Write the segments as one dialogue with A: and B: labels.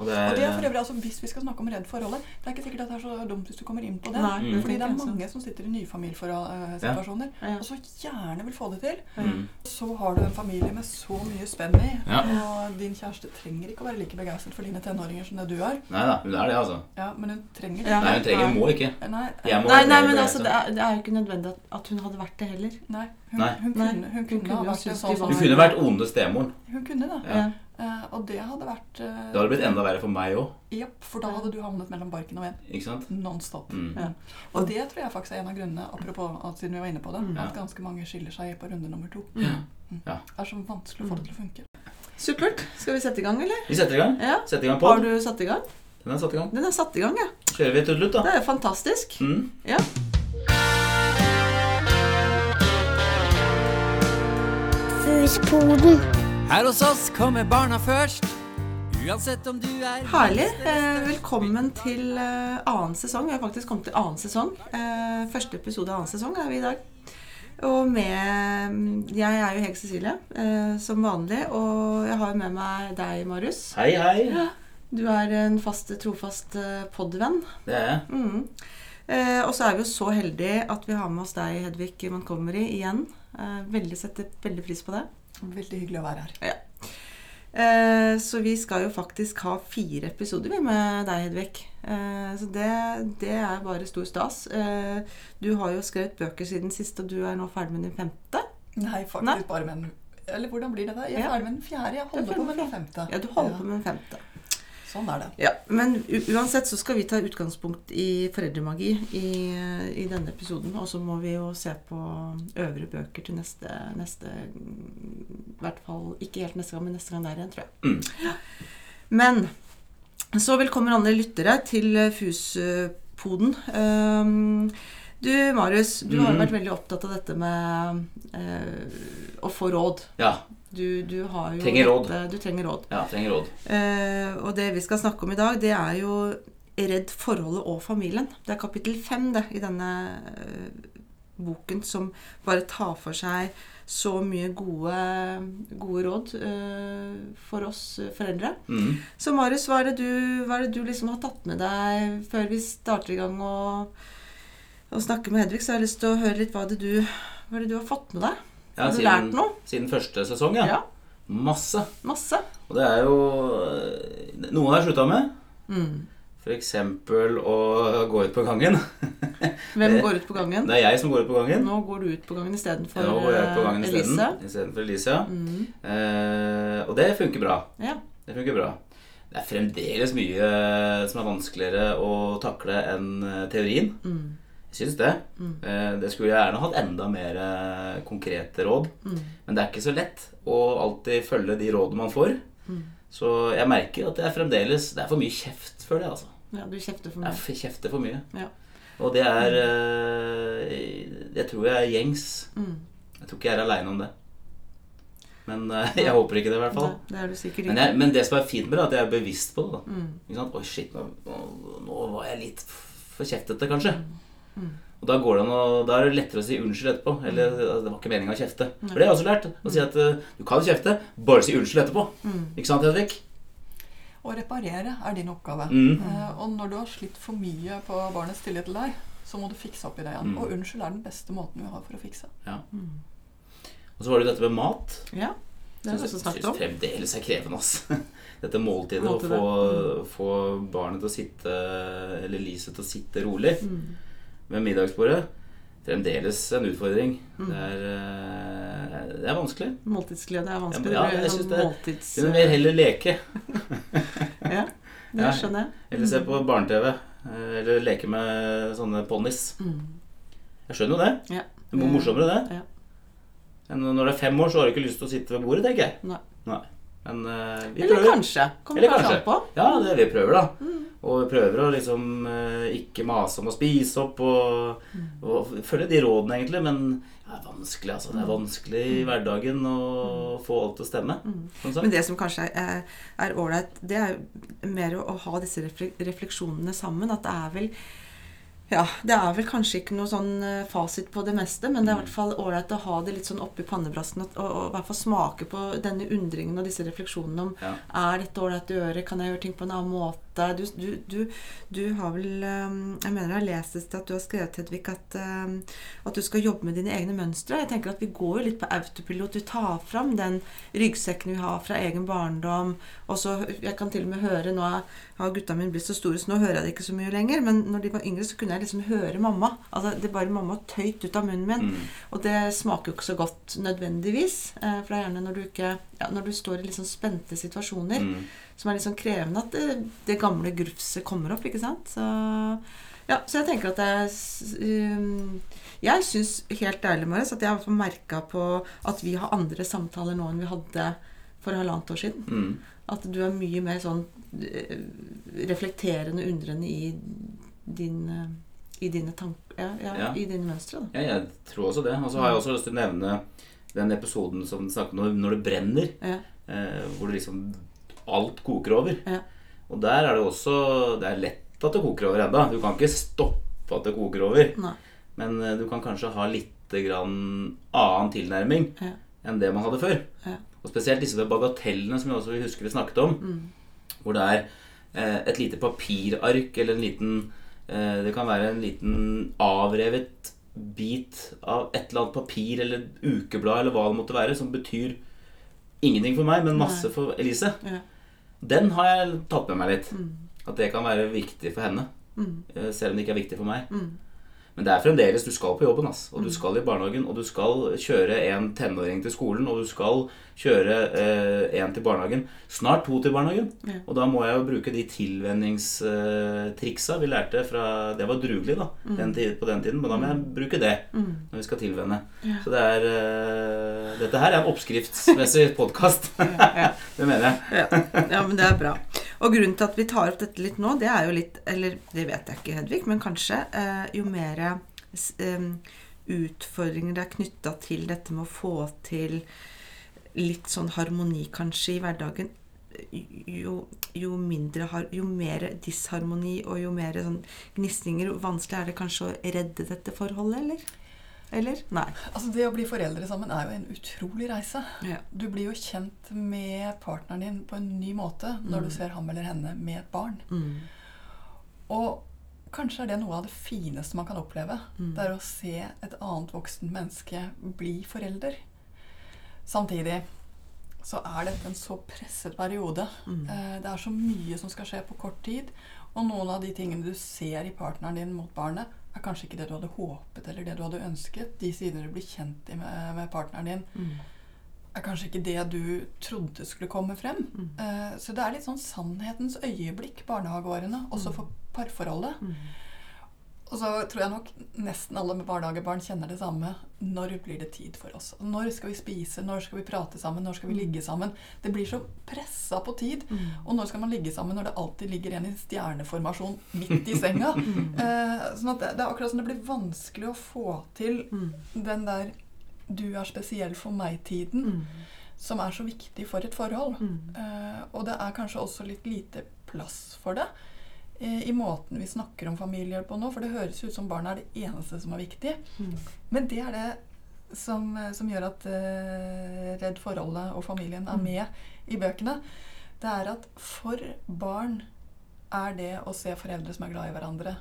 A: Og det
B: Og
A: er,
B: det er for øvrig, altså Hvis vi skal snakke om redd forholdet, det er ikke sikkert at det er så dumt hvis du kommer inn på det.
C: Nei,
A: Mm.
C: det
B: Fordi det er
C: tenker jeg også.
B: mange som sitter i nyfamiliesituasjoner
C: Ja.
B: og så gjerne vil få det til.
A: mm.
B: Så har du en familie med så mye spenn i,
A: Ja.
B: og din kjæreste trenger ikke å være like begeistret for dine tenåringer som det du er.
A: Nei da, hun er det, altså.
B: Ja, men hun trenger
C: Ja.
A: Nei, hun trenger hun må ikke.
B: Nei,
A: Jeg må være
C: Nei,
A: liksom.
C: nei,
A: mer
C: men
A: begeistret.
C: altså, det er, det er jo ikke nødvendig at, at hun hadde vært det heller.
B: nei, hun,
A: Nei.
B: hun
C: Nei.
B: kunne, hun kunne
C: kunne
B: ha
C: jo
B: vært en
C: synes
B: sånn
C: de
B: som
A: Hun kunne vært onde stemoren.
B: Hun kunne det.
A: Ja.
B: Eh, og det hadde vært eh,
A: Det hadde blitt enda verre for meg òg.
B: Jepp, for da hadde du havnet mellom barken og en
A: Ikke sant?
B: nonstop.
A: Mm.
C: Ja.
B: Og det tror jeg faktisk er en av grunnene, apropos at siden vi var inne på det,
C: Mm.
B: at ganske mange skiller seg på runde nummer to.
C: Mm.
B: Det er så vanskelig å få det til å funke.
C: Supert. Skal vi sette i gang, eller?
A: Vi setter i gang.
C: Ja.
A: Setter i gang
C: Har
A: pod.
C: du satt i gang?
A: Den er satt i gang.
C: Den er satt i gang, ja.
A: Kjører vi tuttelutt, da.
C: Det er jo fantastisk.
A: Mm.
C: Ja.
D: Fuspoden.
E: Her hos oss kommer barna først. Uansett om du er
C: Herlig. Eh, velkommen til eh, annen sesong. Vi har faktisk kommet til annen sesong. Eh, første episode av annen sesong er vi i dag. Og med mm, Jeg er jo Hege Cecilie, eh, som vanlig. Og jeg har med meg deg, Marius.
A: Hei, hei.
C: Du er en fast, trofast eh, podvenn.
A: Det er jeg.
C: Mm. Eh, og så er vi jo så heldige at vi har med oss deg, Hedvig Montgomery, igjen. Eh, veldig setter veldig pris på det.
B: Veldig hyggelig å være her.
C: Eh, Så vi skal jo faktisk ha fire episoder vi med deg, Hedvig. Eh, Så det, det er bare stor stas. Eh, Du har jo skrevet bøker siden sist, og du er nå ferdig med din femte.
B: Nei, faktisk
C: Nei.
B: bare med den Eller hvordan blir det da? Jeg er
C: Ja.
B: ferdig med den fjerde. Jeg
C: Du er
B: holder på
C: ferdig
B: med den femte.
C: Ja, du holder på med den femte.
B: Sånn er det.
C: Ja, Men u- uansett så skal vi ta utgangspunkt i foreldremagi i, eh, i denne episoden. Og så må vi jo se på øvrige bøker til neste, neste I hvert fall ikke helt neste gang, men neste gang der igjen, tror jeg.
A: Mm.
C: Men så velkommen andre lyttere til eh, FUS-poden. Ehm, Du Marius, du har jo
A: Mhm.
C: vært veldig opptatt av dette med eh, å få råd.
A: Ja.
C: Du, du har jo
A: Trenger råd.
C: dette- Du trenger råd.
A: ja trenger råd.
C: Eh, og det vi skal snakke om i dag, det er jo Redd forholdet og familien. Det er kapittel fem det, i denne eh, boken som bare tar for seg så mye gode, gode råd eh, for oss eh, foreldre.
A: Mm.
C: Så Marius, hva er det du, hva er det du liksom har tatt med deg før vi starter i gang å å snakke med Hedvig? Så har jeg lyst til å høre litt hva er det du, hva er det du har fått med deg.
A: Ja,
C: har du
A: siden,
C: lært noe?
A: siden første sesong, ja.
C: Ja.
A: Masse.
C: Masse.
A: Og det er jo øh, Noen har jeg slutta med.
C: Mm.
A: F.eks. å gå ut på gangen.
C: Hvem
A: Det-
C: går ut på gangen?
A: Det er jeg som går ut på gangen.
C: Nå går du ut på gangen istedenfor
A: Nå går jeg ut på gangen
C: eh,
A: isteden.
C: Elise.
A: Istedenfor Elise. ja.
C: Mm.
A: Eh, og det funker bra.
C: Ja.
A: Det funker bra. Det er fremdeles mye eh, som er vanskeligere å takle enn eh, teorien.
C: Mm.
A: Jeg syns det.
C: Mm.
A: Eh, Det skulle jeg gjerne hatt enda mer eh, konkrete råd.
C: Mm.
A: Men det er ikke så lett å alltid følge de rådene man får.
C: Mm.
A: Så jeg merker at det er fremdeles Det er for mye kjeft, føler jeg, altså.
C: ja, du kjefter for
A: Jeg
C: mye.
A: f- kjefter for mye.
C: Mm. Ja.
A: Og det er eh, Jeg tror jeg er gjengs.
C: Mm.
A: Jeg tror ikke jeg er aleine om det. Men eh, jeg håper ikke det, i hvert
C: Det,
A: fall.
C: det er du sikkert
A: Men,
C: ikke.
A: jeg, men det som er fint med det, er at jeg er bevisst på det. da
C: Mm.
A: ikke sant? Oi, shit, nå, nå- nå var jeg litt for kjeftete, kanskje.
C: Mm.
A: Og da, går det an å, da er det lettere å si unnskyld etterpå. Eller altså, det var ikke meninga å kjefte. For
C: Nei.
A: det har jeg også lært. Å si at eh, du kan kjefte, bare si unnskyld etterpå.
C: Mm.
A: Ikke sant, Hedvig?
B: Å reparere er din oppgave.
A: Mm.
B: Eh, og når du har slitt for mye på barnets tillit til deg, så må du fikse opp i det igjen.
A: Mm.
B: Og unnskyld er den beste måten vi har for å fikse.
A: Og så var det dette med mat.
C: Mm. Ja, det har vi også snakket
A: Syns
C: om.
A: fremdeles er krevende, ass. Dette måltidet. Å
C: Måltidet. Mm.
A: få, få barnet til å sitte, eller Lise til å sitte rolig
C: Mm.
A: ved middagsbordet. Fremdeles en utfordring.
C: Mm.
A: Det, er, eh, det er vanskelig.
C: Måltidsglede er vanskelig.
A: Ja, men ja, jeg
C: Sånn
A: synes det-
C: Måltids...
A: Kunne mer heller leke.
C: Ja, det
A: Ja.
C: skjønner jeg.
A: Eller se på barne-TV. eh, Eller leke med sånne ponnis.
C: Mm.
A: Jeg skjønner jo det.
C: Ja.
A: Det er morsommere, det.
C: Ja.
A: Enn når du er fem år, så har du ikke lyst til å sitte ved bordet, tenker jeg.
C: Nei.
A: Men eh, vi
C: Eller
A: prøver.
C: kanskje. Kommer
A: Eller
C: kanskje
A: kanskje.
C: an på.
A: Ja, det er det vi prøver, da.
C: Mm.
A: Og vi prøver å liksom eh, ikke mase om å spise opp og,
C: Mm.
A: og følge de rådene, egentlig. Men det er vanskelig, altså. Det er vanskelig
C: Mm.
A: i hverdagen å få alt til å stemme. Som
C: Men
A: sagt.
C: det som kanskje er er ålreit, det er jo mer å å ha disse refle- refleksjonene sammen. At det er vel Ja, det er vel kanskje ikke noe sånn eh, fasit på det meste, men det er i hvert fall ålreit å ha det litt sånn oppi pannebrassen og, og, og i hvert fall smake på denne undringen og disse refleksjonene om
A: Ja.
C: er dette ålreit å gjøre, kan jeg gjøre ting på en annen måte? Du, du, du, du har vel eh, Jeg mener jeg har lest et sted at du har skrevet, Hedvig, at, eh, at du skal jobbe med dine egne mønstre. Jeg tenker at vi går jo litt på autopilot. Vi tar fram den ryggsekken vi har fra egen barndom. Og så, jeg kan til og med høre Nå er- har gutta mine blitt så store, så nå hører jeg det ikke så mye lenger. Men når de var yngre, så kunne jeg liksom høre mamma. Altså, det bare mamma tøyt ut av munnen min.
A: Mm.
C: Og det smaker jo ikke så godt nødvendigvis. eh, For det er gjerne når du, ikke, ja, når du står i litt sånn spente situasjoner
A: Mm.
C: som er litt sånn krevende, at det, det gamle grufset kommer opp, ikke sant? Så, ja, så jeg tenker at det er s- um, Jeg syns helt ærlig, Marius, at jeg har merka på at vi har andre samtaler nå enn vi hadde for halvannet år siden.
A: Mm.
C: At du er mye mer sånn eh, reflekterende, undrende i din eh, i dine tanker ja, ja,
A: Ja.
C: I dine mønstre, da.
A: Ja, jeg tror også det. Og så har jeg også lyst til å nevne den episoden som du snakket om når- når det brenner.
C: Ja.
A: Eh, hvor det liksom alt koker over.
C: Ja.
A: Og der er det også Det er lett at det koker over ennå. Du kan ikke stoppe at det koker over.
C: Nei.
A: Men eh, du kan kanskje ha litt grann annen tilnærming
C: Ja.
A: enn det man hadde før.
C: Ja.
A: Og spesielt disse bagatellene som jeg også husker vi snakket om.
C: Mm.
A: Hvor det er eh, et lite papirark eller en liten eh, Det kan være en liten avrevet bit av et eller annet papir eller ukeblad eller hva det måtte være, som betyr ingenting for meg, men masse
C: Nei.
A: for Elise.
C: Ja.
A: Den har jeg tatt med meg litt.
C: Mm.
A: At det kan være viktig for henne.
C: Mm.
A: eh, Selv om det ikke er viktig for meg.
C: Mm.
A: Men det er fremdeles Du skal på jobben, ass. Og du skal i barnehagen, og du skal kjøre en tenåring til skolen, og du skal kjøre eh, en til barnehagen. Snart to til barnehagen.
C: Ja.
A: Og da må jeg jo bruke de tilvenningstriksa vi lærte fra Det var Drugli, da, den tid, på den tiden. Men da må jeg bruke det
C: Mm.
A: når vi skal tilvenne.
C: Ja.
A: Så det er eh, Dette her er en oppskriftsmessig podkast.
C: ja.
A: det mener jeg.
C: Ja, ja, men det er bra. Og grunnen til at vi tar opp dette litt nå, det er jo litt Eller det vet jeg ikke, Hedvig, men kanskje eh, jo mer eh, utfordringer det er knytta til dette med å få til litt sånn harmoni, kanskje, i hverdagen jo, jo mindre har, Jo mer disharmoni og jo mer sånn gnisninger, jo vanskeligere er det kanskje å redde dette forholdet, eller? Eller? Nei.
B: Altså Det å bli foreldre sammen er jo en utrolig reise.
C: Ja.
B: Du blir jo kjent med partneren din på en ny måte når du ser ham eller henne med et barn.
C: Mm.
B: Og kanskje er det noe av det fineste man kan oppleve.
C: Mm.
B: Det er å se et annet voksent menneske bli forelder. Samtidig så er dette en så presset periode.
C: Mm.
B: Eh, Det er så mye som skal skje på kort tid. Og noen av de tingene du ser i partneren din mot barnet, er kanskje ikke det du hadde håpet eller det du hadde ønsket. De sidene du blir kjent i med, med partneren din,
C: Mm.
B: er kanskje ikke det du trodde skulle komme frem. Eh, Så det er litt sånn sannhetens øyeblikk, barnehageårene, også for parforholdet.
C: Mm.
B: Og så tror jeg nok nesten alle med barnehagebarn kjenner det samme. Når blir det tid for oss? Når skal vi spise? Når skal vi prate sammen? Når skal vi ligge sammen? Det blir så pressa på tid.
C: Mm.
B: Og når skal man ligge sammen når det alltid ligger en i stjerneformasjon midt i senga?
C: Mm.
B: Eh, sånn at det, det er akkurat som det blir vanskelig å få til
C: Mm.
B: den der du er spesiell for meg-tiden,
C: Mm.
B: som er så viktig for et forhold. Eh, og det er kanskje også litt lite plass for det eh, i måten vi snakker om familie på nå, for det høres ut som barna er det eneste som er viktig.
C: Mm.
B: Men det er det som, eh, som gjør at eh, Redd forholdet og familien
C: Mm.
B: er med i bøkene. Det er at for barn er det å se foreldre som er glad i hverandre,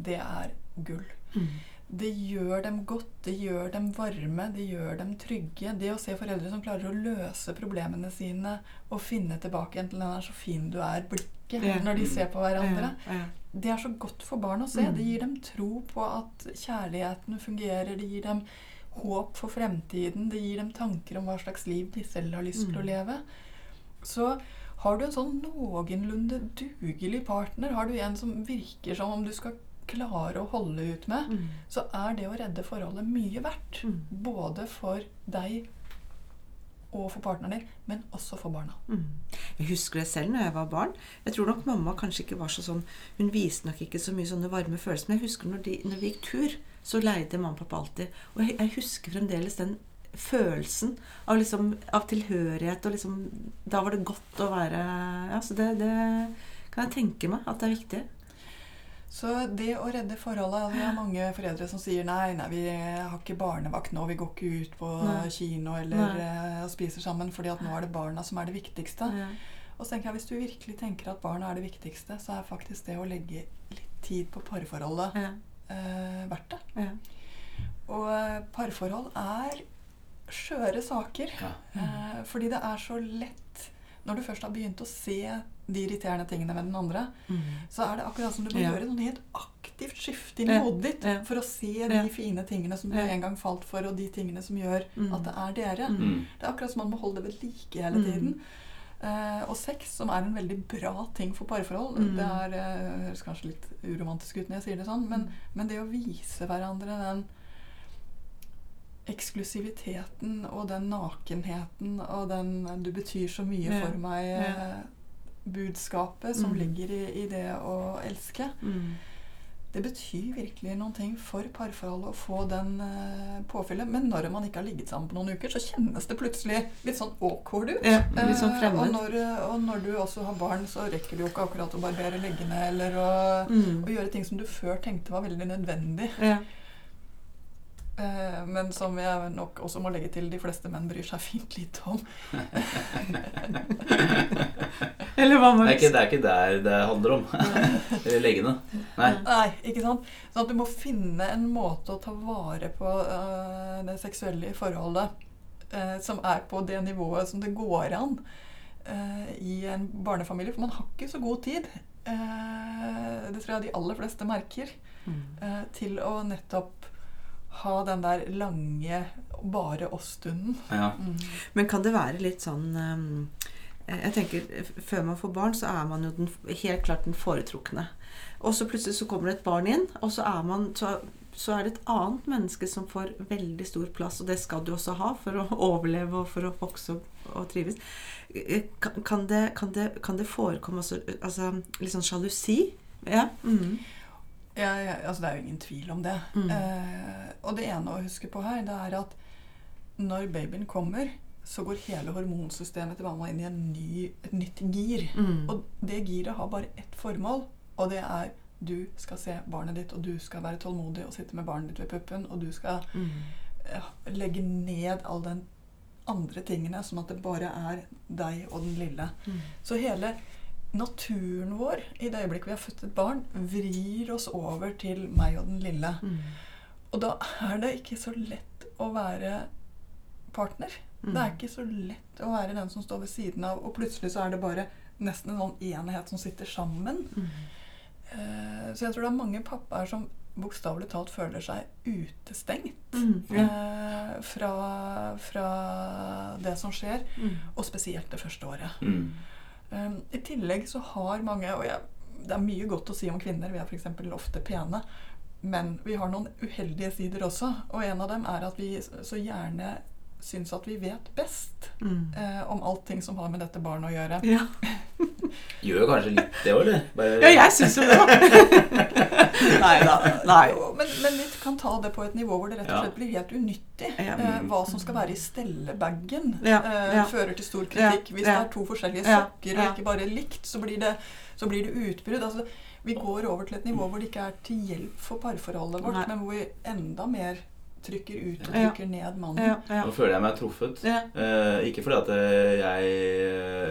B: det er gull.
C: Mm.
B: Det gjør dem godt, det gjør dem varme, det gjør dem trygge. Det å se foreldre som klarer å løse problemene sine og finne tilbake igjen til den der 'så fin du er'-blikket
C: Ja.
B: når de ser på hverandre.
C: Ja, ja.
B: Det er så godt for barn å se. Det gir dem tro på at kjærligheten fungerer. Det gir dem håp for fremtiden. Det gir dem tanker om hva slags liv de selv har lyst til å leve. Så har du en sånn noenlunde dugelig partner, har du en som virker som om du skal klare å holde ut med, så er det å redde forholdet mye verdt. Både for deg og for partneren din, men også for barna.
C: Mm. Jeg husker det selv når jeg var barn. Jeg tror nok mamma kanskje ikke var så sånn Hun viste nok ikke så mye sånne varme følelser. Men jeg husker når, de, når vi gikk tur, så leide mamma og pappa alltid. Og jeg, jeg husker fremdeles den følelsen av, liksom, av tilhørighet og liksom Da var det godt å være Ja, så det, det kan jeg tenke meg at det er viktig.
B: Så det å redde forholdet altså, Vi har mange foreldre som sier nei, nei, vi har ikke barnevakt nå, vi går ikke ut på
C: Nei.
B: kino eller eh, og spiser sammen, fordi at nå er det barna som er det viktigste.
C: Ja.
B: Og så tenker jeg, Hvis du virkelig tenker at barna er det viktigste, så er faktisk det å legge litt tid på parforholdet
C: Ja.
B: eh, verdt det.
C: Ja.
B: Og eh, parforhold er skjøre saker.
A: Ja.
B: Eh, fordi det er så lett Når du først har begynt å se de irriterende tingene med den andre, så er det akkurat som du må
C: Ja.
B: gjøre sånn helt aktivt skifte i
C: Ja,
B: hodet ditt
C: ja.
B: for å se de
C: Ja.
B: fine tingene som du
C: Ja.
B: en gang falt for, og de tingene som gjør
C: Mm.
B: at det er dere.
C: Mm.
A: Mm.
B: Det er akkurat som man må holde det ved like hele
C: Mm.
B: tiden. Eh, og sex, som er en veldig bra ting for parforhold
C: Mm.
B: Det er, eh, høres kanskje litt uromantisk ut når jeg sier det sånn,
C: Mm.
B: men, men det å vise hverandre den eksklusiviteten og den nakenheten og den 'du betyr så mye
C: Ja.
B: for
C: Ja.
B: meg'-budskapet som
C: Mm.
B: ligger i, i det å elske,
C: Mm.
B: det betyr virkelig noen ting for parforholdet å få den eh, påfyllet. Men når man ikke har ligget sammen på noen uker, så kjennes det plutselig litt sånn awkward ut.
C: Ja, litt sånn
B: Eh, og,
C: fremmed.
B: når, og når du også har barn, så rekker du jo ikke akkurat å barbere leggene eller å,
C: Mm.
B: å gjøre ting som du før tenkte var veldig nødvendig.
C: Ja.
B: Eh, men som jeg nok også må legge til de fleste menn bryr seg fint litt om.
C: Eller hva
A: Det,
C: man
A: er ikke, det er ikke der det handler om. Eller Legene. Nei.
B: Nei, ikke sant? Sånn at du må finne en måte å ta vare på øh, det seksuelle i forholdet øh, som er på det nivået som det går an øh, i en barnefamilie. For man har ikke så god tid. eh, det tror jeg de aller fleste merker.
C: Mm.
B: eh, til å nettopp ha den der lange bare oss-stunden.
A: Ja.
C: Men kan det være litt sånn ehm, Jeg tenker, f- Før man får barn, så er man jo den, helt klart den foretrukne. Og så plutselig så kommer det et barn inn, og så er, man, så, så er det et annet menneske som får veldig stor plass, og det skal du også ha for å overleve og for å vokse og, og trives. Eh, Kan, kan, det, kan, det, kan det forekomme altså, altså, litt sånn sjalusi? Ja. Mm.
B: Ja, ja, altså det er jo ingen tvil om det.
C: Mm.
B: Eh, og det ene å huske på her, det er at når babyen kommer, så går hele hormonsystemet til mamma inn i en ny, et nytt gir.
C: Mm.
B: Og det giret har bare ett formål, og det er du skal se barnet ditt, og du skal være tålmodig og sitte med barnet ditt ved puppen, og du skal
C: Mm.
B: eh, legge ned all den andre tingene, sånn at det bare er deg og den lille.
C: Mm.
B: Så hele naturen vår, i det øyeblikket vi har født et barn, vrir oss over til meg og den lille.
C: Mm.
B: Og da er det ikke så lett å være partner.
C: mm.
B: Det er ikke så lett å være den som står ved siden av, og plutselig så er det bare nesten en sånn enhet som sitter sammen.
C: Mm,
B: Eh, Så jeg tror det er mange pappaer som bokstavelig talt føler seg utestengt
C: Mm. Ja.
B: eh, fra, fra det som skjer,
C: Mm.
B: og spesielt det første året.
A: Mm.
B: Um, I tillegg så har mange Og jeg, det er mye godt å si om kvinner, vi er f.eks. ofte pene. Men vi har noen uheldige sider også, og en av dem er at vi så gjerne syns at vi vet best
C: Mm.
B: eh, om allting som har med dette barnet å gjøre.
C: Ja.
A: Gjør jo kanskje litt det òg, eller? Bare-
C: ja, jeg syns jo det. Nei da. Nei.
B: Jo, Men, men vi kan ta det på et nivå hvor det rett og
A: Ja.
B: slett blir helt unyttig.
C: Ja.
B: Eh, hva som skal være i stellebagen,
C: Ja,
B: eh,
C: ja.
B: fører til stor kritikk.
C: Ja,
B: Hvis
C: ja.
B: det er to forskjellige
C: Ja,
B: sokker
C: ja.
B: og ikke bare likt, så blir det, så blir det utbrudd. Altså, vi går over til et nivå hvor det ikke er til hjelp for parforholdet vårt,
C: Nei.
B: men hvor vi enda mer trykker ut og
C: Ja.
B: trykker ned mannen.
C: Ja, ja.
A: Nå føler jeg meg truffet.
C: Ja.
A: Eh, ikke fordi at eh, jeg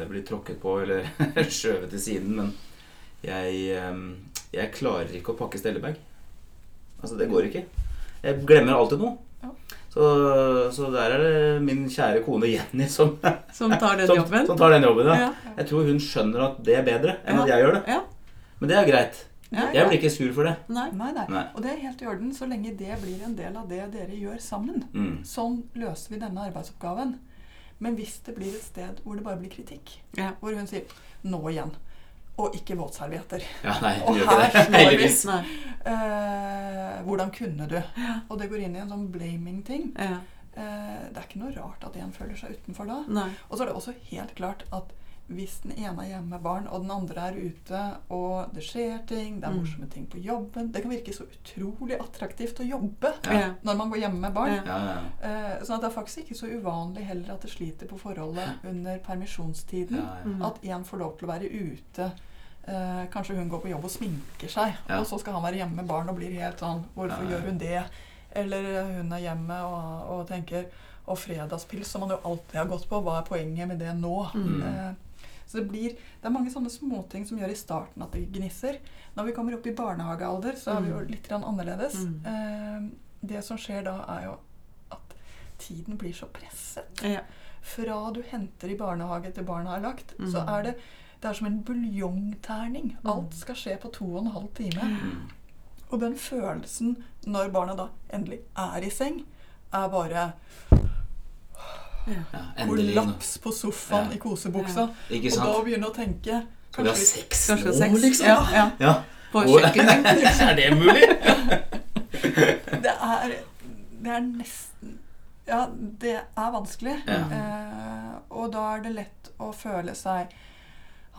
A: eh, blir tråkket på eller skjøvet til siden, men jeg, eh, jeg klarer ikke å pakke stellebag. Altså, det går ikke. Jeg glemmer alltid noe.
B: Ja.
A: Så, så der er det min kjære kone Jenny som,
C: Som tar den
A: som,
C: jobben.
A: som tar den jobben. Ja.
C: Ja.
A: Jeg tror hun skjønner at det er bedre enn
C: Ja.
A: at jeg gjør det.
C: Ja.
A: Men det er greit.
C: Ja.
A: Jeg blir ikke sur for det.
C: Nei.
B: Nei, nei.
A: Nei.
B: Og det er helt i orden så lenge det blir en del av det dere gjør sammen.
A: Mm.
B: Sånn løser vi denne arbeidsoppgaven. Men hvis det blir et sted hvor det bare blir kritikk,
C: Ja.
B: hvor hun sier 'nå igjen', og ikke våtservietter
A: Ja, nei, hun
B: Og
A: gjør ikke
B: her
A: det.
B: slår vi.
A: Heldigvis.
C: Nei.
B: Eh, hvordan kunne du? Og det går inn i en sånn blaming-ting.
C: Ja.
B: Eh, det er ikke noe rart at en føler seg utenfor da.
C: Nei.
B: Og så er det også helt klart at hvis den ene er hjemme med barn, og den andre er ute, og det skjer ting, det er
C: Mm.
B: morsomme ting på jobben Det kan virke så utrolig attraktivt å jobbe
A: Ja.
C: Ja.
B: når man går hjemme med barn.
C: Ja.
A: Ja, ja, ja.
B: Eh, sånn at det er faktisk ikke så uvanlig heller
A: Mm.
B: at det sliter på forholdet under permisjonstiden.
A: Ja, ja.
B: At én får lov til å være ute Eh, kanskje hun går på jobb og sminker seg,
A: Ja.
B: og så skal han være hjemme med barn og blir helt sånn Hvorfor
A: Ja, ja.
B: gjør hun det? Eller eh, hun er hjemme og, og tenker Og fredagspils, som han jo alltid har gått på, hva er poenget med det nå?
A: Mm.
B: Eh, så det blir Det er mange sånne småting som gjør i starten at det gnisser. Når vi kommer opp i barnehagealder, så er vi jo
C: Mm.
B: litt grann annerledes.
C: Mm.
B: Eh, det som skjer da, er jo at tiden blir så presset
C: Ja.
B: fra du henter i barnehage til barna er lagt,
C: Mm.
A: Mhm.
B: så er det, det er som en buljongterning. Alt skal skje på to og en halv time.
C: Mm.
B: Og den følelsen når barna da endelig er i seng, er bare
A: Ja, endelig. nå.
B: kollaps på sofaen
A: Ja.
B: i kosebuksa.
A: Ikke
B: Og da
A: sant?
B: begynne å tenke
A: Skal vi
B: kanskje,
A: ha sex
C: Kanskje
A: nå,
C: sex.
A: liksom?
C: Ja, ja.
A: Ja.
C: På
A: Hvor-
C: kjøkkenet.
A: er det mulig?
B: det, er, det er nesten Ja, det er vanskelig.
A: Ja.
B: Eh, og da er det lett å føle seg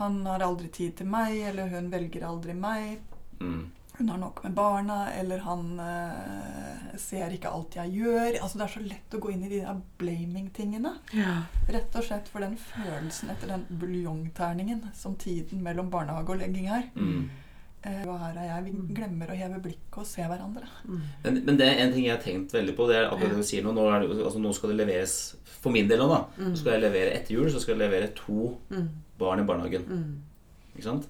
B: Han har aldri tid til meg, eller hun velger aldri meg.
A: Mm.
B: hun har nok med barna, eller han eh, ser ikke alt jeg gjør. Altså, det er så lett å gå inn i de der blaming-tingene.
C: Ja.
B: Rett og slett for den følelsen etter den buljongterningen som tiden mellom barnehage og legging er.
A: Mm.
B: Eh, og her er jeg.
C: Mm.
B: Vi glemmer å heve blikket og se hverandre.
A: Men, men det er en ting jeg har tenkt veldig på. Det er akkurat det du sier Nå Nå, er det, altså, nå skal det leveres For min del nå, da.
C: Mm.
A: Så skal jeg levere etter jul så skal jeg levere to barn i barnehagen. Ikke sant?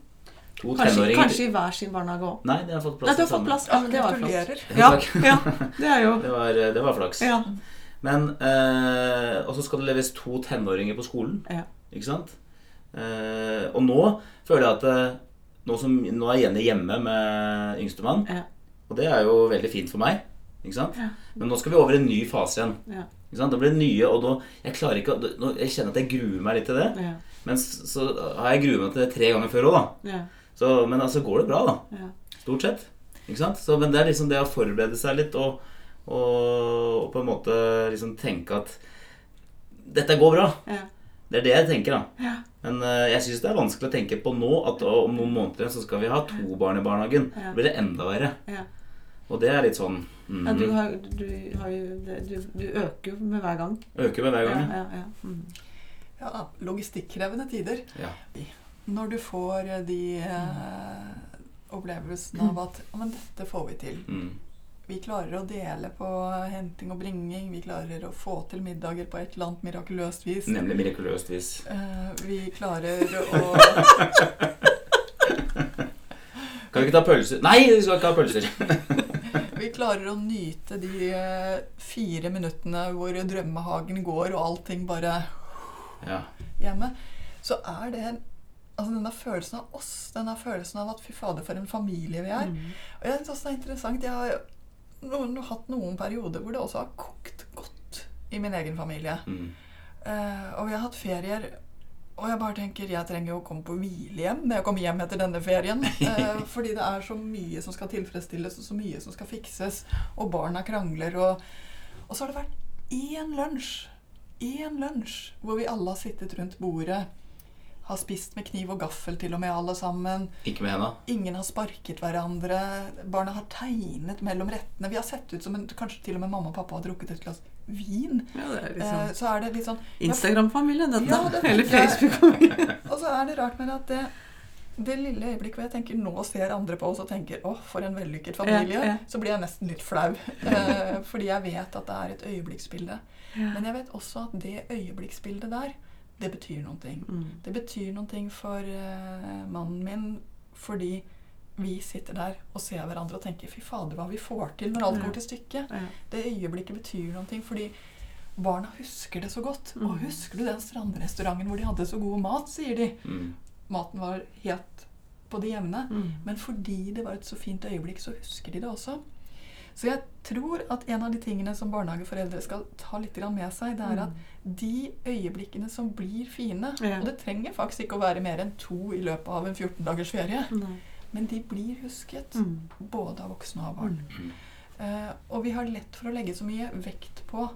A: To
C: mm. Kanskje,
A: tenåringer.
C: kanskje i hver sin barnehage òg.
A: Nei, de har fått plass
C: Nei, du har
A: til
C: fått
A: sammen.
C: plass. Ja, men det var flott.
B: Gratulerer.
C: Ja,
A: Takk.
C: ja, det er jo
A: Det var, det var flaks.
C: Ja.
A: Men eh, Og så skal det leveres to tenåringer på skolen.
C: Ja.
A: Ikke sant? Eh, og nå føler jeg at eh, nå, som, nå er Jenny hjemme med yngstemann,
C: Ja.
A: og det er jo veldig fint for meg. Ikke sant?
C: Ja.
A: Men nå skal vi over i en ny fase igjen.
C: Ja.
A: Ikke sant? Det blir nye, og nå, jeg, klarer ikke, å- nå, jeg kjenner at jeg gruer meg litt til det.
C: Ja.
A: Men s- så har jeg gruet meg til det tre ganger før òg, da.
C: Ja.
A: Så, men altså går det bra, da.
C: Ja.
A: Stort sett. Ikke sant? Så, men det er liksom det å forberede seg litt og, og, og på en måte liksom tenke at dette går bra.
C: Ja.
A: Det er det jeg tenker, da.
C: Ja.
A: Men eh, jeg syns det er vanskelig å tenke på nå at å, om noen måneder så skal vi ha to barn i barnehagen.
C: Ja.
A: Da blir det enda verre.
C: Ja.
A: Og det er litt sånn mm,
C: Ja, du, har, du, har jo, det- du, du øker jo med hver gang.
A: Øker med hver
C: Ja,
A: gang. Ja.
C: ja, ja. Mm.
B: Ja, logistikkrevende tider.
A: Ja.
B: Når du får eh, de eh,
C: Mm.
B: opplevelsene av at ja, men dette får vi til.
A: Mm.
B: Vi klarer å dele på henting og bringing. Vi klarer å få til middager på et eller annet mirakuløst vis.
A: Nemlig mirakuløst vis.
B: Eh, vi klarer å
A: Kan vi ikke ta pølser? Nei, vi skal ikke ha pølser!
B: Vi klarer å nyte de eh, fire minuttene hvor drømmehagen går og allting bare
A: Ja.
B: hjemme. Så er det altså denne følelsen av oss, denne følelsen av at fy fader, for en familie vi er.
C: Mm.
B: Og jeg synes også det er interessant. Jeg har noen, hatt noen perioder hvor det også har kokt godt i min egen familie.
A: Mm.
B: Eh, og vi har hatt ferier, og jeg bare tenker jeg trenger jo å komme på hvilehjem når jeg kommer hjem etter denne ferien. Eh, fordi det er så mye som skal tilfredsstilles, og så mye som skal fikses. Og barna krangler, og Og så har det vært én lunsj, én lunsj, hvor vi alle har sittet rundt bordet. Har spist med kniv og gaffel til og med, alle sammen.
A: Ikke med henda.
B: Ingen har sparket hverandre. Barna har tegnet mellom rettene. Vi har sett ut som en, kanskje til og med mamma og pappa har drukket et glass vin.
C: Ja, det er
B: Eh,
C: liksom
B: så er det litt sånn ja,
C: Instagram-familien, dette.
B: Ja, det tenker
C: Eller
B: jeg.
C: Facebook-familien.
B: Og så er det rart med det at det, det lille øyeblikket hvor jeg tenker nå ser andre på oss og tenker 'Å, for en vellykket familie',
C: Ja, ja.
B: så blir jeg nesten litt flau. Eh, fordi jeg vet at det er et øyeblikksbilde. Men jeg vet også at det øyeblikksbildet der, det betyr noen ting.
C: Mm.
B: Det betyr noen ting for eh, mannen min fordi vi sitter der og ser hverandre og tenker 'Fy fader, hva vi får til når alt
C: Ja.
B: går til stykket'.
C: Ja.
B: Det øyeblikket betyr noen ting, fordi barna husker det så godt.
C: Mm.
B: Og husker du den strandrestauranten hvor de hadde så god mat, sier de.
A: Mm.
B: Maten var helt på det jevne.
C: Mm.
B: Men fordi det var et så fint øyeblikk, så husker de det også. Så jeg tror at en av de tingene som barnehageforeldre skal ta litt grann med seg,
C: Mm.
B: det er at de øyeblikkene som blir fine
C: Ja.
B: Og det trenger faktisk ikke å være mer enn to i løpet av en 14 dagers ferie.
C: Nei.
B: Men de blir husket
C: Mm.
B: både av voksne og av barn. Eh, og vi har lett for å legge så mye vekt på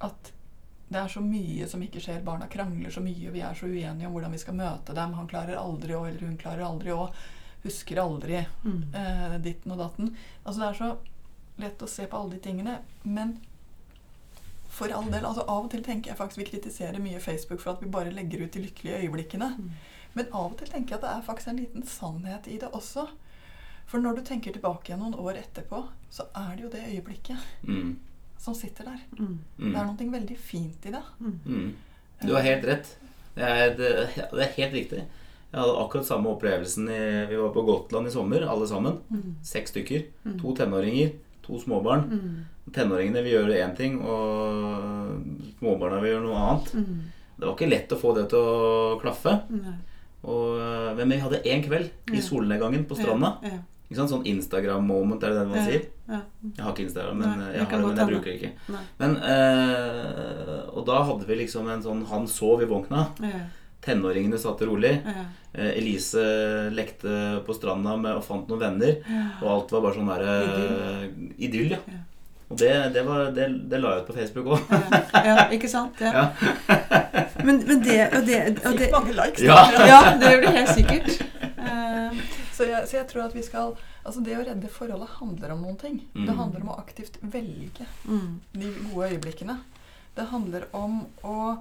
B: at det er så mye som ikke skjer. Barna krangler så mye, og vi er så uenige om hvordan vi skal møte dem. Han klarer aldri å, eller hun klarer aldri å. Husker aldri
C: Mm.
B: eh, ditten og datten. Altså Det er så lett å se på alle de tingene. Men for all del, altså av og til tenker jeg faktisk vi kritiserer mye Facebook for at vi bare legger ut de lykkelige øyeblikkene. Men av og til tenker jeg at det er faktisk en liten sannhet i det også. For når du tenker tilbake igjen noen år etterpå, så er det jo det øyeblikket
A: Mm.
B: som sitter der.
C: Mm.
B: Det er
A: Mm.
B: noe veldig fint i det.
A: Mm. Du har helt rett. Det er, det, det er helt riktig. Jeg hadde akkurat samme opplevelsen i, Vi var på Gotland i sommer, alle sammen. Seks stykker.
C: Mm.
A: To tenåringer, to småbarn. Tenåringene vil gjøre én ting, og småbarna vil gjøre noe annet.
C: Mm.
A: Det var ikke lett å få det til å klaffe.
C: Nei.
A: Og, øh, men vi hadde én kveld
C: Ja.
A: i solnedgangen på stranda.
C: Ja, ja,
A: Ikke sant? Sånn Instagram-moment, er det det man sier?
C: ja.
A: Jeg har ikke Instagram,
C: Nei,
A: men øh,
C: det
A: jeg
C: kan
A: har det, men
C: godt
A: jeg
C: hende.
A: bruker det ikke.
C: Nei.
A: Men, øh, og da hadde vi liksom en sånn Han sov i vogna.
C: Ja,
A: Tenåringene satt rolig.
C: ja,
A: Eh, Elise lekte på stranda med, og fant noen venner.
C: ja.
A: Og alt var bare sånn der eh, Idyll, ja.
C: Ja.
A: Og det, det, var, det, det la jeg ut på Facebook òg.
C: ja, ja, ikke sant? Ja. Men, men det og det, og det
B: Fikk mange likes.
A: Ja.
C: Ja, det blir helt sikkert. Eh,
B: Så jeg, så jeg tror at vi skal Altså, det å redde forholdet handler om noen ting. Det
A: Mm.
B: handler om å aktivt velge
C: mm,
B: de gode øyeblikkene. Det handler om å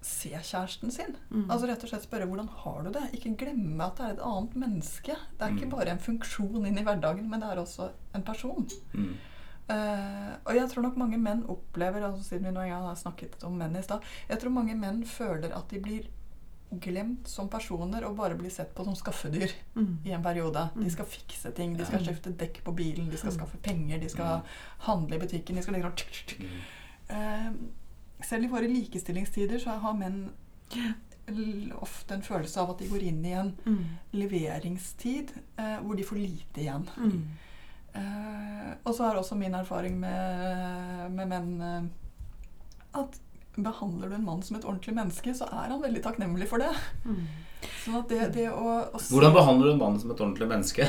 B: se kjæresten sin.
C: mm.
B: Altså rett og slett spørre hvordan har du det? Ikke glemme at det er et annet menneske. Det er
A: Mm.
B: ikke bare en funksjon inn i hverdagen, men det er også en person.
A: Mm.
B: Eh, og jeg tror nok mange menn opplever altså siden vi nå jeg har snakket om menn i stad, jeg tror mange menn føler at de blir glemt som personer og bare blir sett på som skaffedyr
C: Mm. Mm.
B: i en periode. De skal fikse ting, de skal skifte dekk på bilen, de skal skaffe penger, de skal handle i butikken de skal liksom tsk, tsk, tsk. Eh, Selv i våre likestillingstider så har menn l- ofte en følelse av at de går inn i en
C: Mm.
B: leveringstid eh, hvor de får lite igjen.
C: Mm.
B: Eh, og så er også min erfaring med, med menn eh, at behandler du en mann som et ordentlig menneske, så er han veldig takknemlig for det.
C: Mm.
B: Sånn at det, det å, å se-
A: Hvordan behandler du en mann som et ordentlig menneske?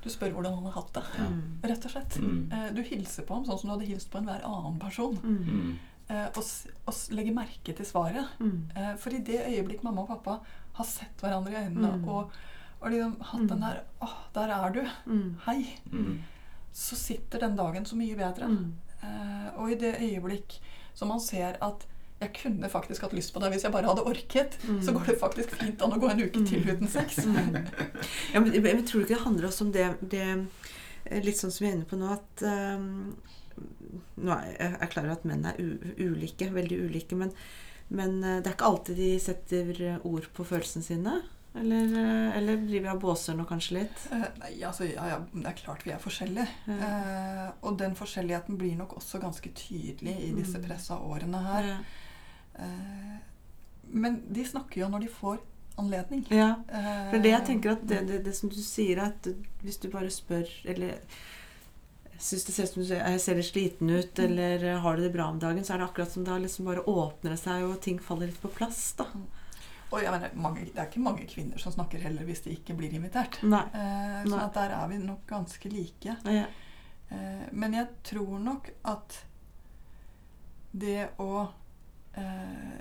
B: Du spør hvordan han har hatt det,
C: Mm.
B: rett og slett.
A: Mm.
B: Eh, du hilser på ham sånn som du hadde hilst på enhver annen person.
C: Mm.
A: Mm.
B: Eh, og, s- og s- legger merke til svaret.
C: Mm.
B: Eh, For i det øyeblikk mamma og pappa har sett hverandre i øynene
C: Mm.
B: og, og liksom hatt den der Å, der er du.
C: Mm.
B: Hei.
A: Mm.
B: Så sitter den dagen så mye bedre.
C: Mm.
B: Eh, og i det øyeblikk som man ser at jeg kunne faktisk hatt lyst på deg hvis jeg bare hadde orket,
C: Mm.
B: så går det faktisk fint an å gå en uke til uten sex.
C: Ja, men, men men tror du ikke det handler også om det, det eh, Litt sånn som vi er inne på nå, at ehm, Nå er jeg jeg er klar over at menn er u ulike, veldig ulike, men, men eh, det er ikke alltid de setter eh, ord på følelsene sine? Eller, eh, eller driver jeg og båser nå kanskje litt?
B: Eh, nei, altså, ja, ja, det er klart vi er forskjellige.
C: Ja.
B: Eh, og den forskjelligheten blir nok også ganske tydelig i disse
C: Mm.
B: pressa årene her. Eh, men de snakker jo når de får anledning.
C: ja.
B: Eh,
C: For det jeg tenker at det, det, det som du sier, er at du- hvis du bare spør Eller syns det ser ut som du ser- jeg ser litt sliten ut,
B: Mm.
C: eller har du det bra om dagen, så er det akkurat som da liksom bare åpner det seg, og ting faller litt på plass, da.
B: Og jeg mener, mange, det er ikke mange kvinner som snakker heller hvis de ikke blir invitert.
C: Nei.
B: Eh,
C: Nei.
B: sånn at der er vi nok ganske like.
C: Ja.
B: Eh, men jeg tror nok at det å eh,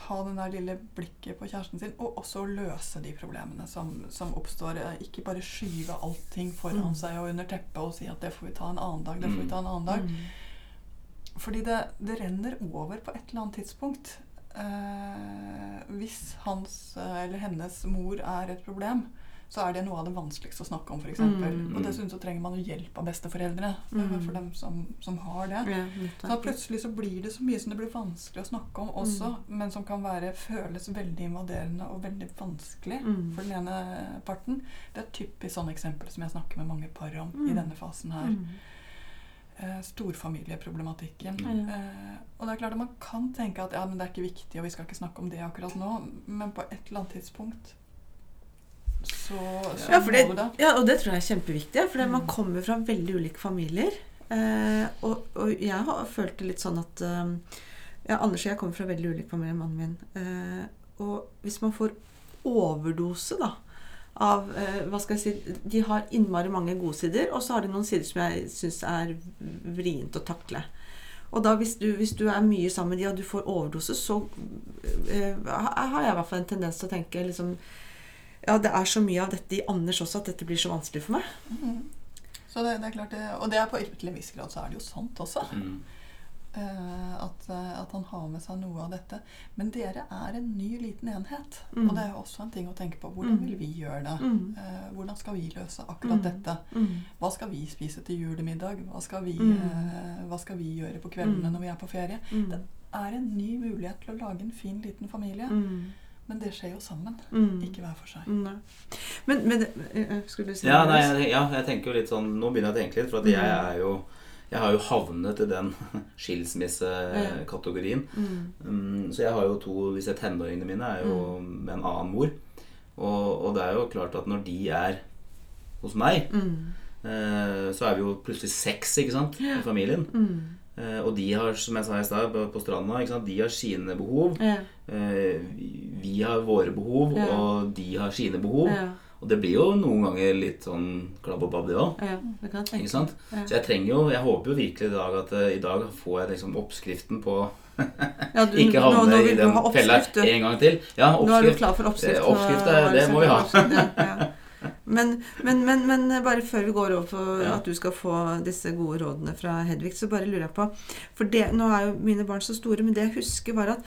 B: ha den der lille blikket på kjæresten sin, og også å løse de problemene som, som oppstår. eh, Ikke bare skyve allting foran
C: Mm.
B: seg og under teppet og si at det får vi ta en annen dag, det får vi ta en annen dag.
C: Mm.
B: Fordi det, det renner over på et eller annet tidspunkt. Eh, hvis hans eh, eller hennes mor er et problem, så er det noe av det vanskeligste å snakke om. For eksempel.
C: Mm.
B: Og dessuten så trenger man jo hjelp av besteforeldre. eh,
C: Mm.
B: For dem som, som har det.
C: Ja,
B: Så
C: nettopp.
B: plutselig så blir det så mye som det blir vanskelig å snakke om også,
C: Mm.
B: men som kan være, føles veldig invaderende og veldig vanskelig
C: Mm.
B: for den ene parten. Det er et typisk sånne eksempel som jeg snakker med mange par om
C: Mm.
B: i denne fasen her.
C: Mm.
B: Eh, storfamilieproblematikken.
C: Mm.
B: Eh, og det er klart at Man kan tenke at ja, men det er ikke viktig, og vi skal ikke snakke om det akkurat nå. Men på et eller annet tidspunkt så, så
C: Ja, for det,
B: må du det.
C: ja, og det tror jeg er kjempeviktig. For man kommer fra veldig ulike familier. Eh, og, og jeg har følt det litt sånn at eh, ja, Anders og jeg kommer fra veldig ulik familie, mannen min. Eh, og hvis man får overdose, da av eh, hva skal jeg si, De har innmari mange gode sider, og så har de noen sider som jeg syns er vrient å takle. Og da hvis du, hvis du er mye sammen med de, og du får overdose, så eh, har jeg i hvert fall en tendens til å tenke liksom, ja, det er så mye av dette i Anders også at dette blir så vanskelig for meg.
B: Mhm. Så det, det er klart det, Og det er på til en viss grad så er det jo sant også.
A: Mm.
B: eh, at, eh, at han har med seg noe av dette. Men dere er en ny liten enhet.
C: Mm.
B: Og det er jo også en ting å tenke på.
C: Mm.
B: Hvordan vil vi gjøre det?
C: Mm.
B: Eh, hvordan skal vi løse akkurat
C: Mm.
B: dette?
C: Mm.
B: Hva skal vi spise til julemiddag? Hva skal vi,
C: Mm.
B: eh, hva skal vi gjøre på kveldene
C: Mm.
B: når vi er på ferie?
C: Mm.
B: Det er en ny mulighet til å lage en fin, liten familie.
C: Mm.
B: Men det skjer jo sammen,
C: Mm.
B: ikke hver for seg.
C: Mm, Nei. Men, men eh, eh, Skulle du si
A: Ja,
C: noe,
A: nei,
C: Jonas?
A: jeg- ja, jeg tenker jo litt sånn Nå begynner jeg å tenke litt, for at jeg er jo Jeg har jo havnet i den skilsmissekategorien.
C: Mm.
A: Mm, Så jeg har jo to Disse tenåringene mine er jo med en annen mor. Og, og det er jo klart at når de er hos meg,
C: Mm.
A: eh, så er vi jo plutselig seks ikke sant, i familien.
C: Mm.
A: Eh, Og de har, som jeg sa i stad, på- på stranda, ikke sant, de har sine behov.
C: Ja.
A: Eh, vi- Vi har våre behov,
C: Ja.
A: og de har sine behov.
C: Ja.
A: Og det blir jo noen ganger litt sånn klabb og babb, det òg.
C: Ja, det kan jeg tenke.
A: Ikke sant?
C: Ja.
A: Så jeg trenger jo, jeg håper jo virkelig i dag at eh, i dag får jeg liksom oppskriften på
C: Ja, du-
A: Ikke havne
C: nå- nå
A: i
C: vil du
A: den
C: ha oppskrift,
A: fella
C: du.
A: en gang til. Ja,
C: Nå er du
A: oppskrift.
C: klar for oppskrift.
A: Eh,
C: nå
A: oppskrift, det-
C: er
A: det
C: du
A: må vi ha.
C: sikker på oppskrift, ja, ja. Men, men, men, men eh, bare før vi går over for
A: Ja.
C: at du skal få disse gode rådene fra Hedvig, så bare lurer jeg på For det, nå er jo mine barn så store, men det jeg husker, var at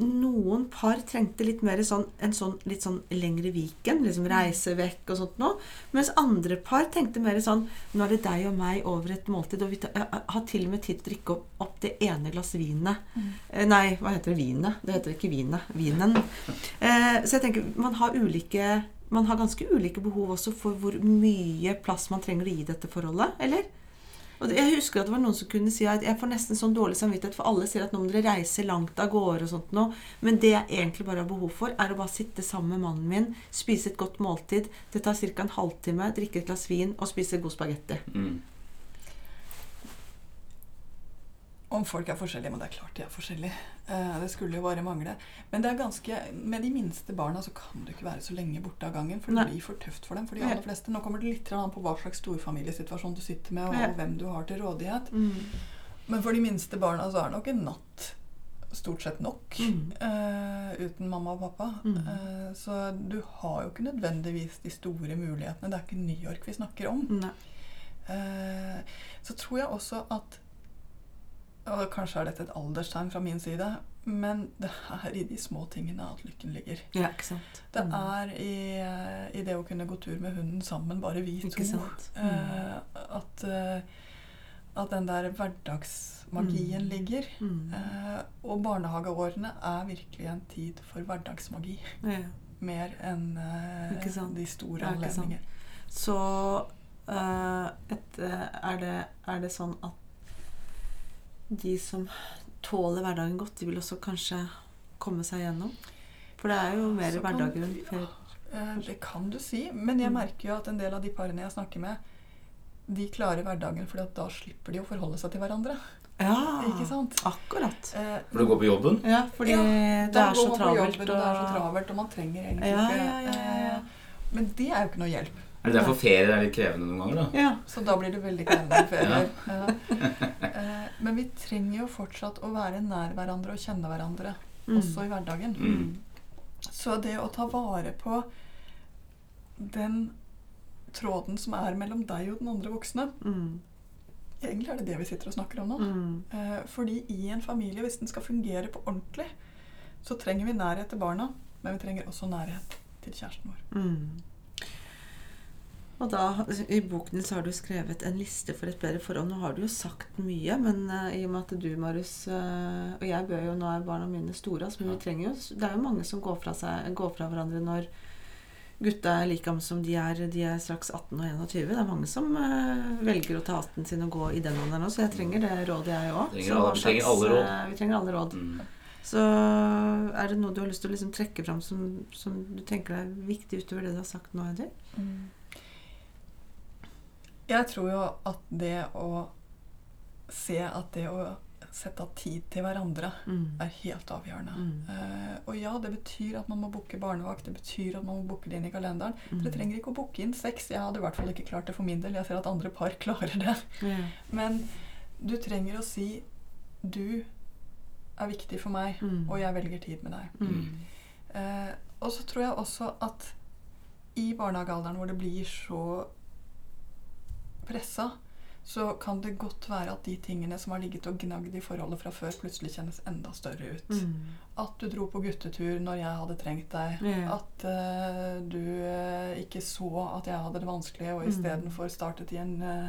C: noen par trengte litt mer sånn, en sånn litt sånn lengre Viken, liksom
A: Mm.
C: reise vekk og sånt noe. Mens andre par tenkte mer sånn Nå er det deg og meg over et måltid, og vi ta- eh, har til og med tid til å drikke opp, opp det ene glass vinet.
A: Mm.
C: Eh, Nei, hva heter det? Vinet? Det heter ikke vinet. Vinen. Eh, så jeg tenker, man har ulike man har ganske ulike behov også for hvor mye plass man trenger å gi dette forholdet, eller? Og det- jeg husker at det var noen som kunne si at jeg får nesten sånn dårlig samvittighet, for alle sier at nå må dere reise langt av gårde og sånt nå, men det jeg egentlig bare har behov for, er å bare sitte sammen med mannen min, spise et godt måltid, det tar ca. en halvtime, drikke et glass vin og spise god spagetti.
A: Mm.
B: Om folk er forskjellige, men det er klart de er forskjellige. Eh, Det skulle jo bare mangle. Men det er ganske, med de minste barna så kan du ikke være så lenge borte av gangen. For det
C: Nei.
B: blir for tøft for dem. For de
C: Ja.
B: aller fleste, Nå kommer det litt an på hva slags storfamiliesituasjon du sitter med, og
C: Ja.
B: hvem du har til rådighet.
C: Mm.
B: Men for de minste barna så er nok en natt stort sett nok
C: Mm.
B: eh, uten mamma og pappa.
C: Mm.
B: Eh, så du har jo ikke nødvendigvis de store mulighetene. Det er ikke New York vi snakker om.
C: Nei.
B: Eh, så tror jeg også at og Kanskje er dette et alderstegn fra min side, men det er i de små tingene at lykken ligger.
C: Ja, ikke sant? Mm.
B: Det er i, eh, i det å kunne gå tur med hunden sammen, bare vi to.
C: Ikke sant?
B: Eh, at, eh, at den der hverdagsmagien
C: Mm.
B: ligger.
C: Mm.
B: Eh, og barnehageårene er virkelig en tid for hverdagsmagi.
C: Ja.
B: Mer enn eh,
C: Ikke sant?
B: de store
C: Ja, ikke sant.
B: anledninger.
C: Så eh, et, eh, er, det, er det sånn at de som tåler hverdagen godt, de vil også kanskje komme seg gjennom? For det er jo mer
B: Så kan-
C: hverdager enn før.
B: Eh, det kan du si, men jeg
C: Mm.
B: merker jo at en del av de parene jeg snakker med, de klarer hverdagen, for da slipper de å forholde seg til hverandre.
C: Ja,
B: Ikke sant?
C: akkurat.
B: Eh,
A: For du går på jobben?
C: Ja, fordi
B: Ja,
C: det
B: da går
C: er så
B: man på
C: travelt.
B: jobben, og... Det er så travelt, og man trenger egentlig
C: Ja,
B: ikke
C: ja, ja, ja, ja.
B: eh, Men det er jo ikke noe hjelp,
A: Er det derfor ferier er litt krevende noen ganger, da?
C: Ja.
B: så da blir det veldig krevende ferier. Ja. Eh, Men vi trenger jo fortsatt å være nær hverandre og kjenne hverandre,
C: Mm.
B: også i hverdagen.
A: Mm.
B: Så det å ta vare på den tråden som er mellom deg og den andre voksne
C: Mm.
B: Egentlig er det det vi sitter og snakker om nå.
C: Mm.
B: Eh, Fordi i en familie, hvis den skal fungere på ordentlig, så trenger vi nærhet til barna, men vi trenger også nærhet til kjæresten vår.
C: Mm. Og da, I boken din så har du skrevet en liste for et bedre forhold. Nå har du jo sagt mye, men eh, i og med at du, Marius, eh, og jeg bør jo Nå er barna mine store, altså, men vi trenger jo Det er jo mange som går fra, seg, går fra hverandre når gutta er like gamle som de er. De er straks 18 og 21. Det er mange som eh, velger å ta hatten sin og gå i den alderen òg, så jeg trenger det rådet, jeg òg.
A: Trenger alle- vi trenger alle råd.
C: eh, Vi trenger alle råd.
A: Mm.
C: Så er det noe du har lyst til å liksom trekke fram som, som du tenker er viktig utover det du har sagt nå, Hedvig?
B: Jeg tror jo at det å se at det å sette av tid til hverandre
C: Mm.
B: er helt avgjørende.
C: Mm.
B: Eh, og ja, det betyr at man må booke barnevakt, det betyr at man må booke Mm. det inn i kalenderen. Dere trenger ikke å booke inn sex. Jeg hadde i hvert fall ikke klart det for min del. Jeg ser at andre par klarer det.
C: Ja.
B: Men du trenger å si 'du er viktig for meg,
C: Mm.
B: og jeg velger tid med deg'.
C: Mm.
B: Eh, og så tror jeg også at i barnehagealderen hvor det blir så pressa, så kan det godt være at de tingene som har ligget og gnagd i forholdet fra før, plutselig kjennes enda større ut.
C: Mm.
B: At du dro på guttetur når jeg hadde trengt deg.
C: Ja.
B: At eh, du eh, ikke så at jeg hadde det vanskelig, og istedenfor startet i en eh,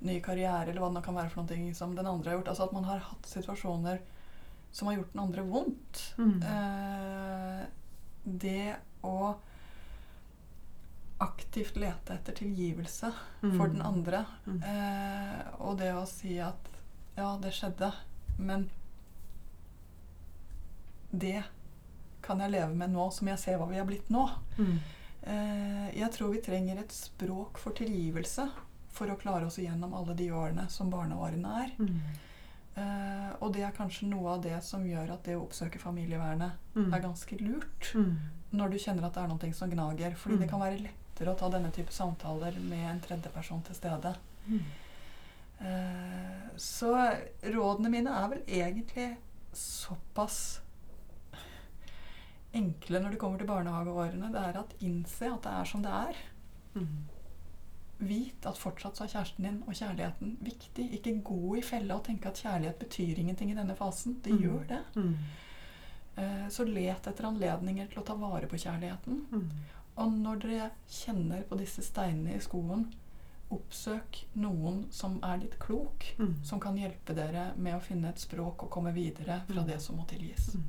B: ny karriere, eller hva det nå kan være for noen ting som den andre har gjort. Altså at man har hatt situasjoner som har gjort den andre vondt.
C: Mm.
B: Eh, det å aktivt lete etter tilgivelse
C: Mm.
B: for den andre, eh, og det å si at ja, det skjedde, men det kan jeg leve med nå som jeg ser hva vi har blitt nå.
C: Mm.
B: Eh, jeg tror vi trenger et språk for tilgivelse for å klare oss igjennom alle de årene som barneårene er.
C: Mm.
B: Eh, og det er kanskje noe av det som gjør at det å oppsøke familievernet
C: Mm.
B: er ganske lurt. Når du kjenner at det er noe som gnager. Fordi det kan være lettere å ta denne type samtaler med en tredjeperson til stede. Eh, så rådene mine er vel egentlig såpass enkle når det kommer til barnehageårene. Det er at innse at det er som det er.
C: Mm.
B: Vit at fortsatt så er kjæresten din og kjærligheten viktig. Ikke gå i fella og tenke at kjærlighet betyr ingenting i denne fasen. Det gjør det.
C: Mm.
B: Eh, Så let etter anledninger til å ta vare på kjærligheten. Og når dere kjenner på disse steinene i skoen, oppsøk noen som er litt klok,
C: Mm.
B: som kan hjelpe dere med å finne et språk og komme videre fra det som må tilgis.
C: Mm.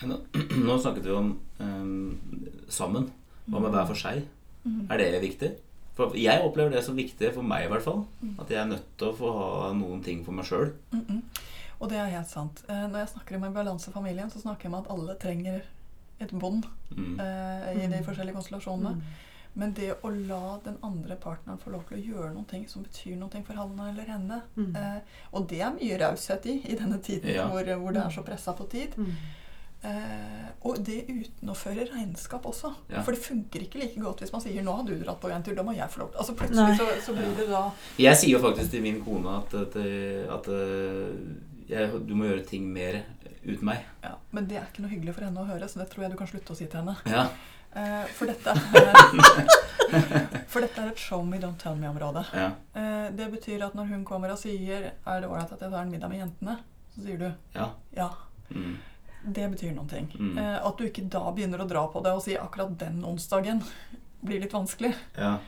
A: Men nå- Nå snakket vi om eh, sammen. Hva
C: Mm.
A: med hver for seg? Er det viktig? For jeg opplever det som viktig for meg, i hvert fall.
C: Mm.
A: At jeg er nødt til å få ha noen ting for meg sjøl.
B: Mm, Og det er helt sant. Eh, Når jeg snakker om en balansefamilie, så snakker jeg om at alle trenger et bånd
A: Mm.
B: eh, i de forskjellige
C: Mm.
B: konstellasjonene. Men det å la den andre partneren få lov til å gjøre noen ting som betyr noe for han eller henne eh, Og det er mye raushet i i denne tiden
A: Ja.
B: hvor, hvor det er så pressa på tid.
C: Mm.
B: Eh, og det uten å føre regnskap også.
A: Ja.
B: For det funker ikke like godt hvis man sier 'nå har du dratt på en tur, da må jeg få lov til Altså plutselig så, så blir det da
A: Jeg sier jo faktisk til min kone at, at, at eh, jeg, du må gjøre ting mer uten meg.
B: ja, Men det er ikke noe hyggelig for henne å høre, så det tror jeg du kan slutte å si til henne.
A: Ja.
B: Eh, for, dette er, for dette er et show me, don't tell me-område.
A: ja.
B: Eh, det betyr at når hun kommer og sier 'er det ålreit at jeg tar en middag med jentene', så sier du
A: ja.
B: 'ja'.
A: Mm.
B: Det betyr noen ting.
A: Mm.
B: Eh, at du ikke da begynner å dra på det og si 'akkurat den onsdagen' blir litt vanskelig.
A: ja.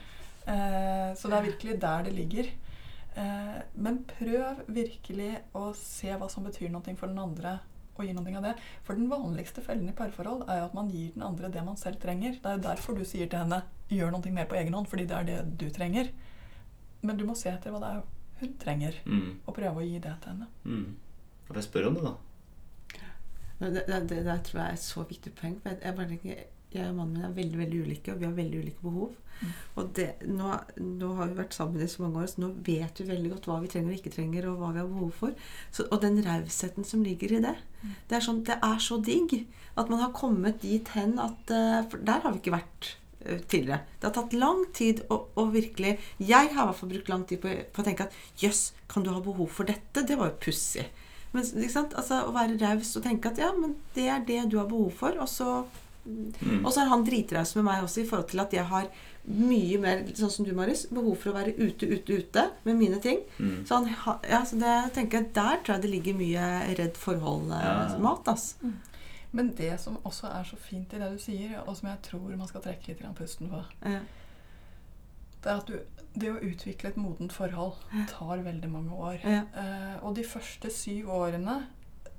B: Eh, så det er virkelig der det ligger. Eh, men prøv virkelig å se hva som betyr noe for den andre. Og gi noe av det. For den vanligste fellen i parforhold er jo at man gir den andre det man selv trenger. Det er jo derfor du sier til henne 'gjør noe mer på egen hånd', fordi det er det du trenger. Men du må se etter hva det er hun trenger,
A: Mm.
B: og prøve å gi det til henne.
A: Mm. Får jeg spørre om det, da?
C: Det, det, det, det tror jeg er et så viktig poeng. For jeg, jeg, bare tenker, jeg og mannen min er veldig veldig ulike, og vi har veldig ulike behov. Og det, nå, nå har vi vært sammen i så mange år, så nå vet vi veldig godt hva vi trenger og ikke trenger, og hva vi har behov for. Så, og den rausheten som ligger i det. Det er, sånn, det er så digg at man har kommet dit hen at eh, For der har vi ikke vært eh, tidligere. Det har tatt lang tid å, å virkelig Jeg har i hvert fall brukt lang tid på, på å tenke at jøss, kan du ha behov for dette? Det var jo pussig. Men, ikke sant? Altså, å være raus og tenke at ja, men det er det du har behov for. Og så,
A: Mm.
C: og så er han dritraus med meg også i forhold til at jeg har mye mer, sånn som du, Marius, behov for å være ute, ute, ute med mine ting.
A: Mm.
C: Så, han, ha- ja, så det, jeg tenker jeg, der tror jeg det ligger mye redd
A: Ja.
C: eh, forhold-mat. altså.
B: Men det som også er så fint i det du sier, og som jeg tror man skal trekke litt grann pusten på,
C: Ja.
B: det er at du, det å utvikle et modent forhold tar veldig mange år.
C: Ja.
B: Eh, og de første syv årene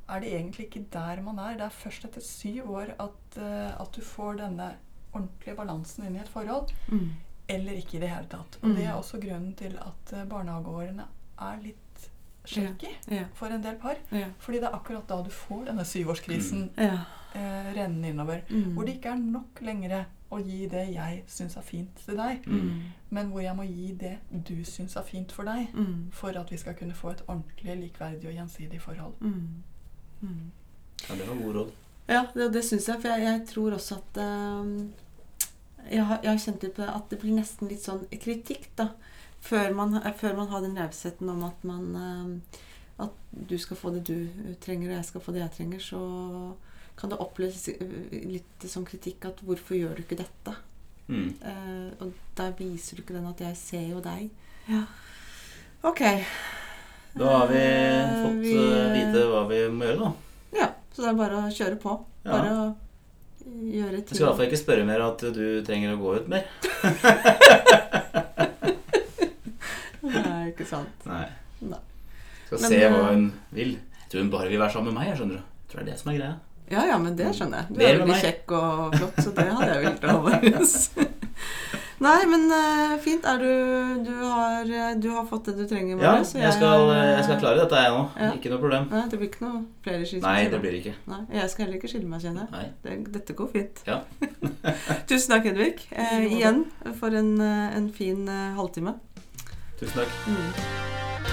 B: er det egentlig ikke der man er. Det er først etter syv år at, eh, at du får denne ordentlige balansen inn i et forhold.
C: mm.
B: Eller ikke i det hele tatt. Og det er også grunnen til at eh, barnehageårene er litt shaky
C: Ja.
B: for en del par.
C: Ja.
B: Fordi det er akkurat da du får denne syvårskrisen
C: Ja.
B: eh, rennende innover.
C: Mm.
B: Hvor det ikke er nok lenger å gi det jeg syns er fint til deg,
C: Mm.
A: Mm.
B: men hvor jeg må gi det du syns er fint for deg,
C: Mm.
B: for at vi skal kunne få et ordentlig likeverdig og gjensidig forhold.
C: Mm.
A: Ja, det var gode råd.
C: Ja, det, det syns jeg. For jeg, jeg tror også at ehm, jeg, har, jeg har kjent litt på det at det blir nesten litt sånn kritikk, da. Før man, eh, før man har den rausheten om at man ehm, At du skal få det du trenger, og jeg skal få det jeg trenger, så kan det oppleves eh, litt som kritikk at 'hvorfor gjør du ikke dette'?
A: Mm.
C: Eh, og der viser du ikke den at 'jeg ser jo deg'. Ok.
A: Da har vi
C: Eh,
A: fått
C: vi-
A: eh, vite hva vi må gjøre, da.
C: Ja, så det er bare å kjøre på.
A: Ja.
C: Bare å gjøre
A: Jeg skal i hvert
C: ting.
A: fall ikke spørre mer at du trenger å gå ut mer.
C: Nei, ikke sant.
A: Nei.
C: Nei.
A: Skal
C: Men,
A: se hva
C: eh,
A: hun vil. Jeg tror hun bare vil være sammen med meg. jeg skjønner du. Jeg tror det er det som er greia.
C: Ja, ja, men det skjønner jeg. Du
A: Mer
C: er
A: med
C: veldig
A: meg.
C: kjekk og flott, så det hadde jeg villet annerledes. Nei, men eh, fint. Er du du har, eh, du har fått det du trenger,
A: Ja,
C: Marius, og
A: jeg skal, eh,
C: har,
A: jeg skal klare dette, jeg nå.
C: Ja.
A: Ikke noe problem.
C: Nei, det blir ikke noe flere skilsmisser.
A: Nei, det
C: da.
A: blir det ikke.
C: Nei, jeg skal heller ikke skille meg, kjenner jeg.
A: Nei.
C: Det, dette går fint.
A: Ja.
C: Tusen takk, Hedvig. Eh,
B: I like måte.
C: igjen for en, eh, en fin eh, halvtime. Mm.
A: Tusen takk.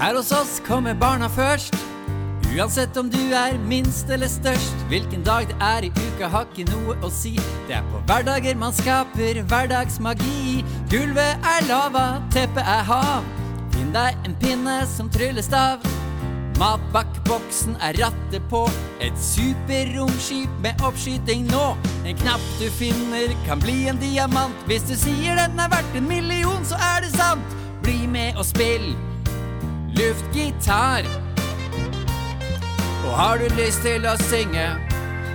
E: Her hos oss kommer barna først. Uansett om du er minst eller størst. Hvilken dag det er i uka har ikke noe å si. Det er på hverdager man skaper hverdagsmagi. Gulvet er lava, teppet er hav. Finn deg en pinne som tryllestav. Matpakkeboksen er rattet på. Et superromskip med oppskyting nå. En knapp du finner kan bli en diamant. Hvis du sier den er verdt en million, så er det sant. Bli med og spill luftgitar. Og har du lyst til å synge,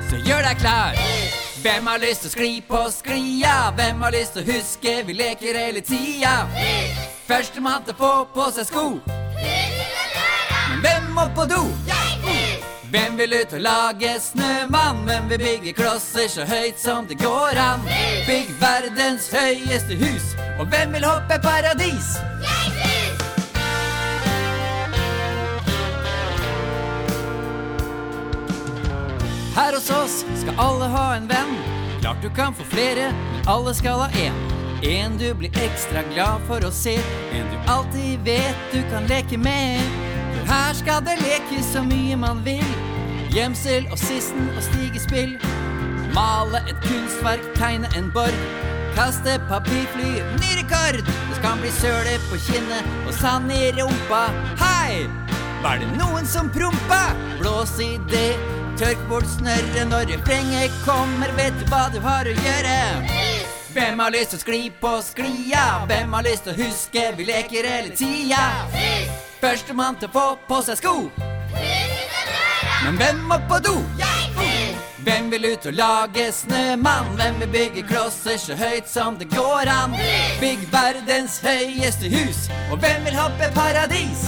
E: så gjør deg klar. Hvem har lyst til å skli på sklia? Hvem har lyst til å huske vi leker hele tida? Førstemann til å få på seg sko. Men hvem må på do? Hvem vil ut og lage snømann? Hvem vil bygge klosser så høyt som det går an? Bygg verdens høyeste hus. Og hvem vil hoppe paradis? Her hos oss skal alle ha en venn. Klart du kan få flere, men alle skal ha én. En du blir ekstra glad for å se, en du alltid vet du kan leke med. For her skal det lekes så mye man vil. Gjemsel og sissen og stigespill. Male et kunstverk, tegne en borg. Kaste papirfly, ny rekord. Det skal bli søle på kinnet og sand i rumpa. Hei! Var det noen som prompa? Blås i det, tørk bort snørret når refrenget kommer. Vet du hva du har å gjøre? Hvem har lyst til å skli på sklia? Hvem har lyst til å huske vi leker hele tida? Førstemann til å få på seg sko. Men hvem må på do? Hvem vil ut og lage snømann? Hvem vil bygge klosser så høyt som det går an? Bygg verdens høyeste hus, og hvem vil hoppe paradis?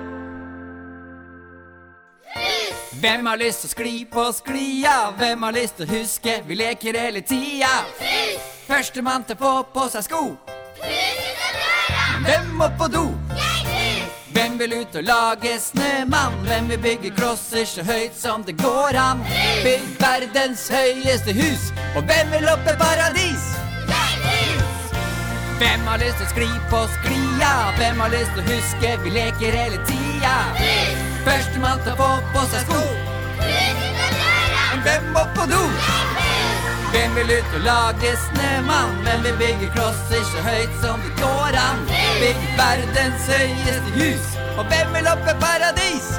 E: Hvem har lyst til å skli på sklia? Hvem har lyst til å huske vi leker hele tida? Førstemann til å få på seg sko. Men Hvem må på do? Hvem vil ut og lage snømann? Hvem vil bygge klosser så høyt som det går an? Bygg verdens høyeste hus, og hvem vil opp i paradis? Hvem har lyst til å skli på sklia? Hvem har lyst til å huske vi leker hele tida? Førstemann til å få på seg sko. Men hvem må på do? Hvem vil ut og lage snømann? Hvem vil bygge klosser så høyt som det går an? Bygg verdens høyeste hus, og hvem vil opp i paradis?